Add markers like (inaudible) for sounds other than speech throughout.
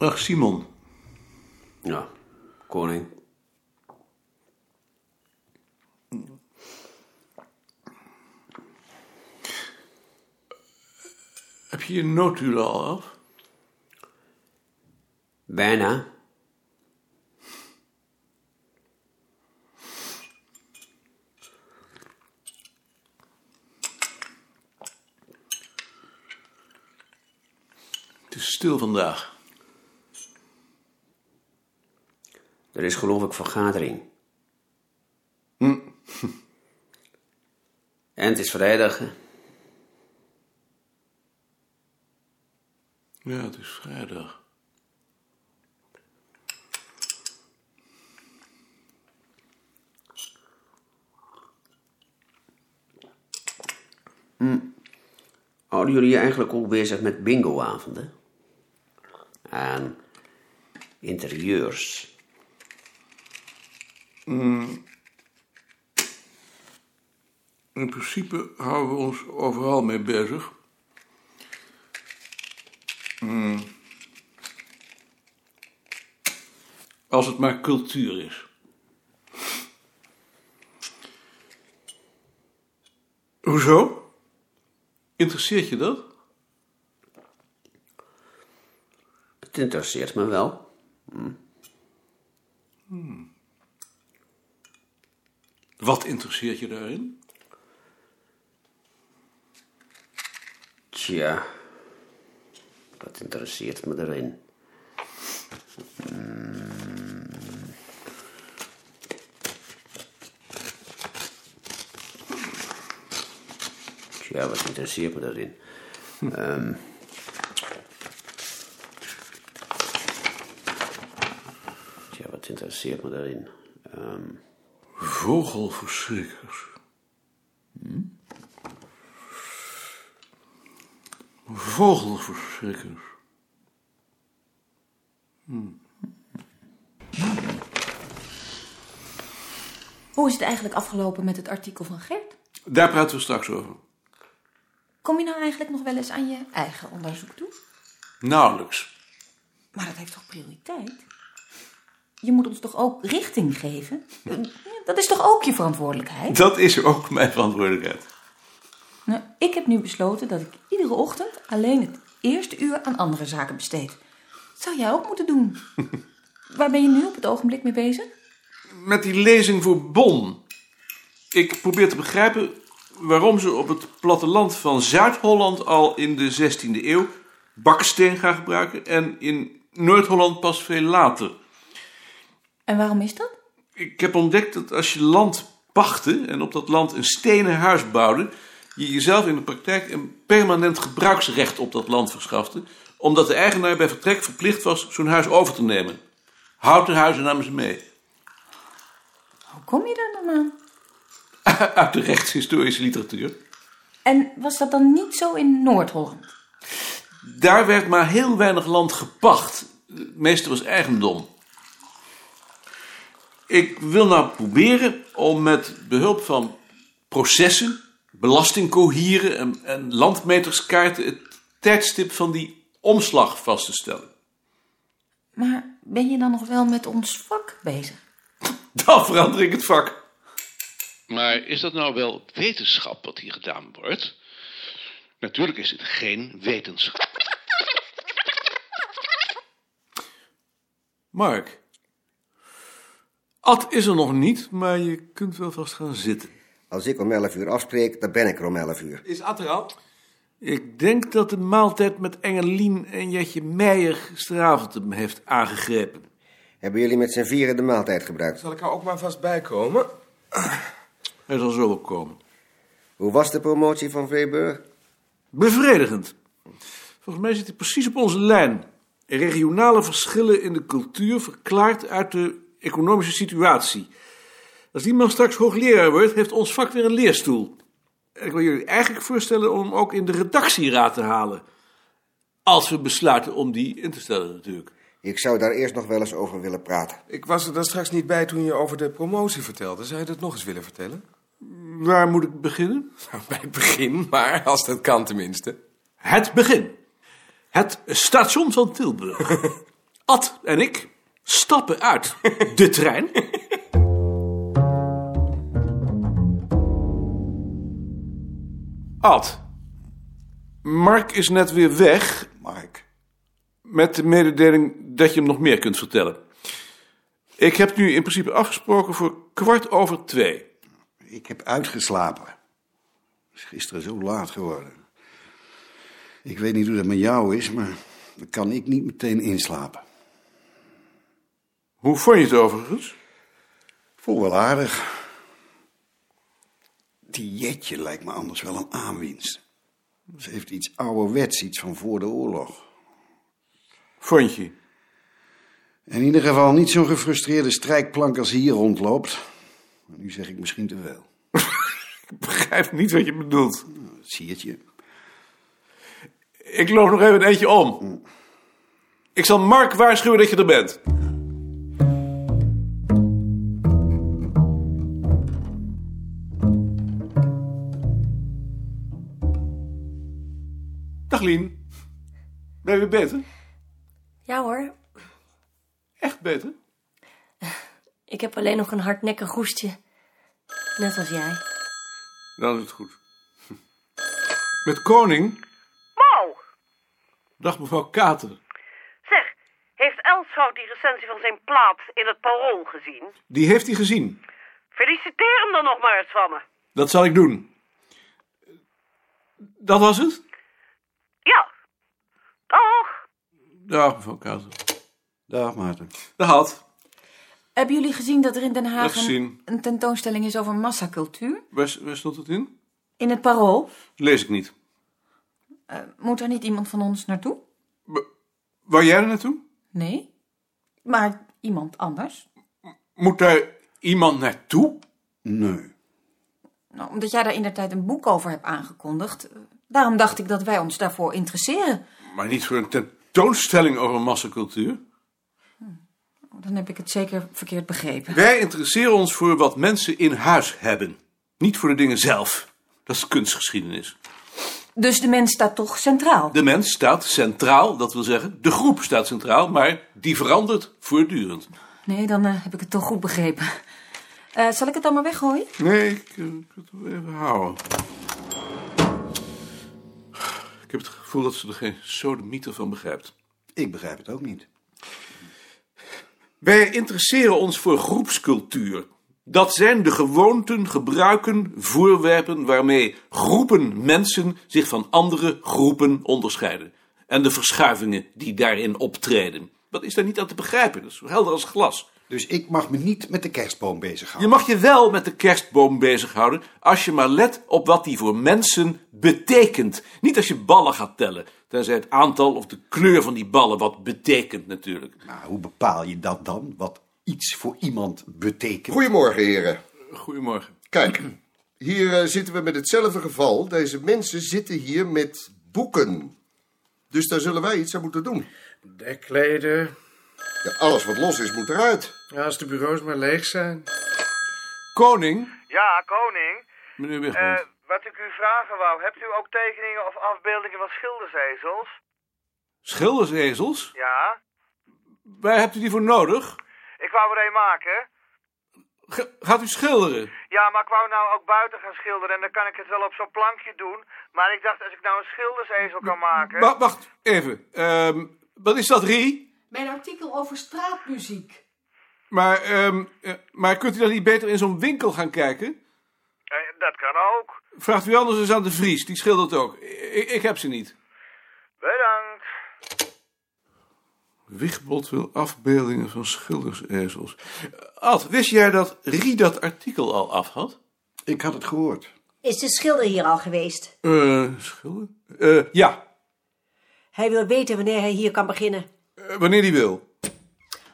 Dag Simon. Ja, koning. Heb je je noodhulen al af? Bijna. Het is stil vandaag. Er is geloof ik vergadering. (laughs) En het is vrijdag. hè? Ja, het is vrijdag. Houden jullie je eigenlijk ook bezig met bingoavonden? En interieurs. In principe houden we ons overal mee bezig. Mm. Als het maar cultuur is. Hoezo? Interesseert je dat? Het interesseert me wel. Wat interesseert je daarin? Tja, wat interesseert me erin? Tja, wat interesseert me daarin? Ehm, tja, wat interesseert me daarin? Ehm, Vogelverschrikkers. Hm? Vogelverschrikkers. Hoe is het eigenlijk afgelopen met het artikel van Gert? Daar praten we straks over. Kom je nou eigenlijk nog wel eens aan je eigen onderzoek toe? Nauwelijks. Maar dat heeft toch prioriteit? Je moet ons toch ook richting geven? Eh, Dat is toch ook je verantwoordelijkheid? Dat is ook mijn verantwoordelijkheid. Nou, ik heb nu besloten dat ik iedere ochtend alleen het eerste uur aan andere zaken besteed. Dat zou jij ook moeten doen. Waar ben je nu op het ogenblik mee bezig? Met die lezing voor Bon. Ik probeer te begrijpen waarom ze op het platteland van Zuid-Holland al in de 16e eeuw baksteen gaan gebruiken en in Noord-Holland pas veel later. En waarom is dat? Ik heb ontdekt dat als je land pachtte en op dat land een stenen huis bouwde, je jezelf in de praktijk een permanent gebruiksrecht op dat land verschafte, omdat de eigenaar bij vertrek verplicht was zo'n huis over te nemen. Houten huizen namen ze mee. (laughs) Hoe kom je daar dan aan? Uit de rechtshistorische literatuur. En was dat dan niet zo in Noord-Holland? Daar werd maar heel weinig land gepacht. Het meeste was eigendom. Ik wil nou proberen om met behulp van processen, belastingcohieren en, en landmeterskaarten het tijdstip van die omslag vast te stellen. (laughs) Maar ben je dan nog wel met ons vak bezig? Dan verander ik het vak. Maar is dat nou wel wetenschap wat hier gedaan wordt? Natuurlijk is het geen wetenschap. Mark, Ad is er nog niet, maar je kunt wel vast gaan zitten. Als ik om 11 uur afspreek, dan ben ik er om 11 uur. Is Ad er al? Ik denk dat de maaltijd met Engelien en Jetje Meijer gisteravond hem heeft aangegrepen. Hebben jullie met z'n vieren de maaltijd gebruikt? Zal ik er ook maar vast bij komen? Hij zal zo wel komen. Hoe was de promotie van Vreeburg? Bevredigend. Volgens mij zit hij precies op onze lijn. Regionale verschillen in de cultuur verklaard uit de economische situatie. Als die man straks hoogleraar wordt, heeft ons vak weer een leerstoel. En ik wil jullie eigenlijk voorstellen om hem ook in de redactieraad te halen. Als we besluiten om die in te stellen natuurlijk. Ik zou daar eerst nog wel eens over willen praten. Ik was er dan straks niet bij toen je over de promotie vertelde. Zou je dat nog eens willen vertellen? Nou, Waar moet ik beginnen? Bij het begin, maar als dat kan tenminste. (laughs) Het begin. Het station van Tilburg. Ad en ik stappen uit de trein. Ad, Mark is net weer weg Mark. met de mededeling dat je hem nog meer kunt vertellen. Ik heb nu in principe afgesproken voor kwart over twee. Ik heb uitgeslapen. Het is gisteren zo laat geworden. Ik weet niet hoe dat met jou is, maar dan kan ik niet meteen inslapen. Hoe vond je het overigens? Voel wel aardig. Die jetje lijkt me anders wel een aanwinst. Ze heeft iets ouderwets, iets van voor de oorlog. Vond je? In ieder geval niet zo'n gefrustreerde strijkplank als hier rondloopt. Maar nu zeg ik misschien te veel. Ik begrijp niet wat je bedoelt. Dat zie het je. Ik loop nog even een eentje om. Ik zal Mark waarschuwen dat je er bent. Dag Lien. Ben je weer beter? Ja hoor, Echt beter? ik heb alleen nog een hardnekkig hoestje. Net als jij. Dan is het goed. Met koning. Wow! Dag mevrouw Kater. Zeg, heeft Elshout die recensie van zijn plaat in het parool gezien? Die heeft hij gezien. Feliciteer hem dan nog maar eens van me. Dat zal ik doen. Dat was het? Ja. Toch? Dag mevrouw Kater. Dag, Maarten. Dat had. Hebben jullie gezien dat er in Den Heb Haag een, gezien. een tentoonstelling is over massacultuur? Waar, waar stond het in? In het parool. Lees ik niet. Moet er niet iemand van ons naartoe? Waar jij er naartoe? Nee. Maar iemand anders? Moet daar iemand naartoe? Nee. Nou, omdat jij daar in de tijd een boek over hebt aangekondigd. eh, Daarom dacht ik dat wij ons daarvoor interesseren. Maar niet voor een tentoonstelling over massacultuur. Oh, Dan heb ik het zeker verkeerd begrepen. Wij interesseren ons voor wat mensen in huis hebben. Niet voor de dingen zelf. Dat is kunstgeschiedenis. Dus de mens staat toch centraal? De mens staat centraal, dat wil zeggen, de groep staat centraal, maar die verandert voortdurend. Nee, dan eh, heb ik het toch goed begrepen. Eh, zal ik het dan maar weggooien? Nee, ik, eh, ik wil het wel even houden. Ik heb het gevoel dat ze er geen sodemieter van begrijpt. Ik begrijp het ook niet. Wij interesseren ons voor groepscultuur. Dat zijn de gewoonten, gebruiken, voorwerpen waarmee groepen mensen zich van andere groepen onderscheiden. En de verschuivingen die daarin optreden. Wat is daar niet aan te begrijpen? Dat is zo helder als glas. Dus ik mag me niet met de kerstboom bezighouden. Je mag je wel met de kerstboom bezighouden als je maar let op wat die voor mensen betekent. Niet als je ballen gaat tellen, tenzij het aantal of de kleur van die ballen wat betekent natuurlijk. Maar hoe bepaal je dat dan? Wat iets voor iemand betekent? Goedemorgen, heren. Goedemorgen. Kijk, hier eh, zitten we met hetzelfde geval. Deze mensen zitten hier met boeken. Dus daar zullen wij iets aan moeten doen. Dekleden. Ja, alles wat los is, moet eruit. Als de bureaus maar leeg zijn. Koning, Ja, koning. meneer Eh, Wigmond. wat ik u vragen wou, hebt u ook tekeningen of afbeeldingen van schildersezels? Schildersezels? Ja. Waar hebt u die voor nodig? Ik wou er een maken. Ga- gaat u schilderen? Ja, maar ik wou nou ook buiten gaan schilderen en dan kan ik het wel op zo'n plankje doen. Maar ik dacht, als ik nou een schildersezel kan maken... Wa- wacht even. Ehm, wat is dat, Rie? Mijn artikel over straatmuziek. Maar, ehm, eh, maar kunt u dan niet beter in zo'n winkel gaan kijken? Eh, dat kan ook. Vraagt u anders eens aan de Vries, die schildert ook. Ik, ik heb ze niet. Bedankt. Wichtbold wil afbeeldingen van schildersezels. Ad, wist jij dat Rie dat artikel al af had? Ik had het gehoord. Is de schilder hier al geweest? Eh, schilder? Eh, ja, Hij wil weten wanneer hij hier kan beginnen. Eh, wanneer die wil.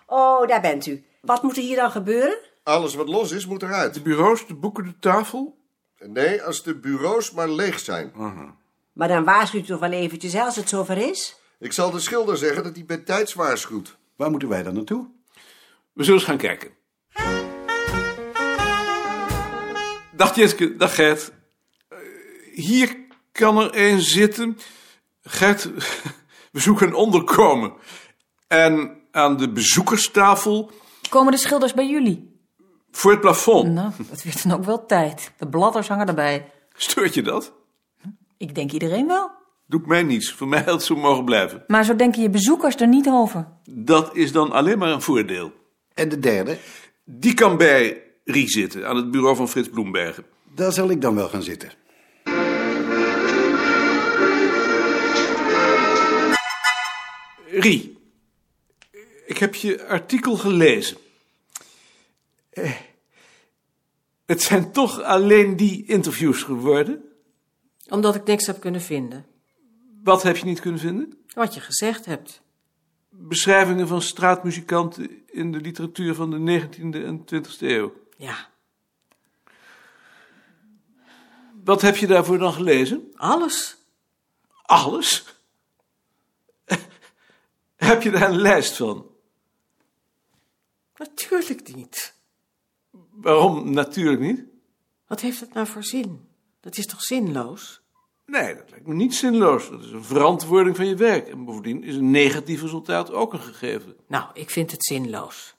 Oh, daar bent u. Wat moet er hier dan gebeuren? Alles wat los is, moet eruit. De bureaus, de boeken, de tafel. Nee, als de bureaus maar leeg zijn. Ah. Maar dan waarschuwt u toch wel eventjes hè, als het zover is? Ik zal de schilder zeggen dat hij bij tijds waarschuwt. Waar moeten wij dan naartoe? We zullen eens gaan kijken. Dag Jitske, dag Gert. Eh, hier kan er één (laughs) zitten. Gert, we zoeken een onderkomen. En aan de bezoekerstafel Komen de schilders bij jullie? voor het plafond. Nou, dat werd dan ook wel tijd. De bladders hangen erbij. Steurt je dat? Ik denk iedereen wel. Doet mij niets. Voor mij had het zo mogen blijven. Maar zo denken je bezoekers er niet over. Dat is dan alleen maar een voordeel. En de derde? Die kan bij Rie zitten, aan het bureau van Frits Bloembergen. Daar zal ik dan wel gaan zitten. Rie, ik heb je artikel gelezen. Eh, Het zijn toch alleen die interviews geworden? Omdat ik niks heb kunnen vinden. Wat heb je niet kunnen vinden? Wat je gezegd hebt. Beschrijvingen van straatmuzikanten in de literatuur van de 19e en 20e eeuw. Ja, Wat heb je daarvoor dan gelezen? alles. Alles? (laughs) heb je daar een lijst van? Natuurlijk niet. Waarom natuurlijk niet? Wat heeft het nou voor zin? Dat is toch zinloos? Nee, dat lijkt me niet zinloos. Dat is een verantwoording van je werk. En bovendien is een negatief resultaat ook een gegeven. Nou, ik vind het zinloos.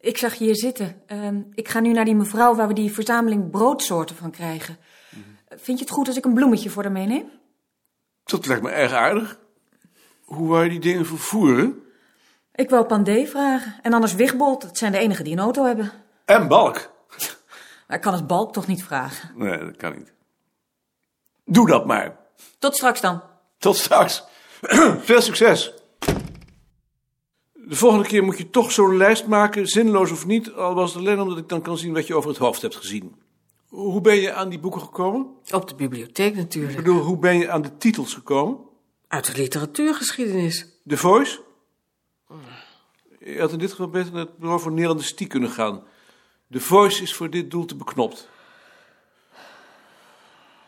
Ik zag je hier zitten. Ehm, ik ga nu naar die mevrouw waar we die verzameling broodsoorten van krijgen. Eh, Vind je het goed als ik een bloemetje voor haar meeneem? Dat lijkt me erg aardig. Hoe wou je die dingen vervoeren? Ik wou Pandé vragen. En anders Wigbold. Dat zijn de enigen die een auto hebben. En balk. Maar ik kan het Balk toch niet vragen. Nee, dat kan niet. Doe dat maar. Tot straks dan. Tot straks. (clears throat) Veel succes. De volgende keer moet je toch zo'n lijst maken, zinloos of niet, al was het alleen omdat ik dan kan zien wat je over het hoofd hebt gezien. Hoe ben je aan die boeken gekomen? Op de bibliotheek Ik natuurlijk. bedoel, hoe ben je aan de titels gekomen? Uit de literatuurgeschiedenis. De Voice? Je had in dit geval beter naar het bureau voor Nederlandistiek kunnen gaan. De Voice is voor dit doel te beknopt.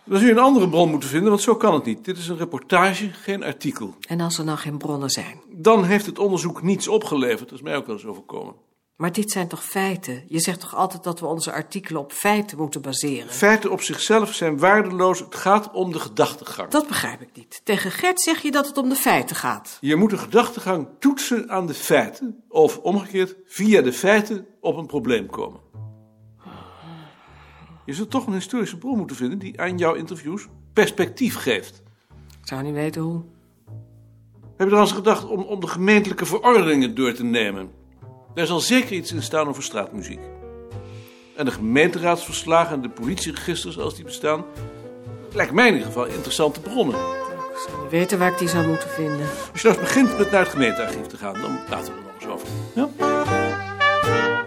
Dan zul je een andere bron moeten vinden, want zo kan het niet. Dit is een reportage, geen artikel. En als er nou geen bronnen zijn. Dan heeft het onderzoek niets opgeleverd. Dat is mij ook wel eens overkomen. Maar dit zijn toch feiten? Je zegt toch altijd dat we onze artikelen op feiten moeten baseren? Feiten op zichzelf zijn waardeloos. Het gaat om de gedachtegang. Dat begrijp ik niet. Tegen Gert zeg je dat het om de feiten gaat. Je moet de gedachtegang toetsen aan de feiten. Of omgekeerd, via de feiten op een probleem komen. Je zult toch een historische bron moeten vinden die aan jouw interviews perspectief geeft. Ik zou niet weten hoe. Heb je er al eens gedacht om, om de gemeentelijke verordeningen door te nemen? Daar zal zeker iets in staan over straatmuziek. En de gemeenteraadsverslagen en de politieregisters, als die bestaan, lijkt mij in ieder geval interessante bronnen. Ik zou niet weten waar ik die zou moeten vinden. Als je nou eens begint met naar het gemeentearchief te gaan, dan praten we er nog eens over. Ja?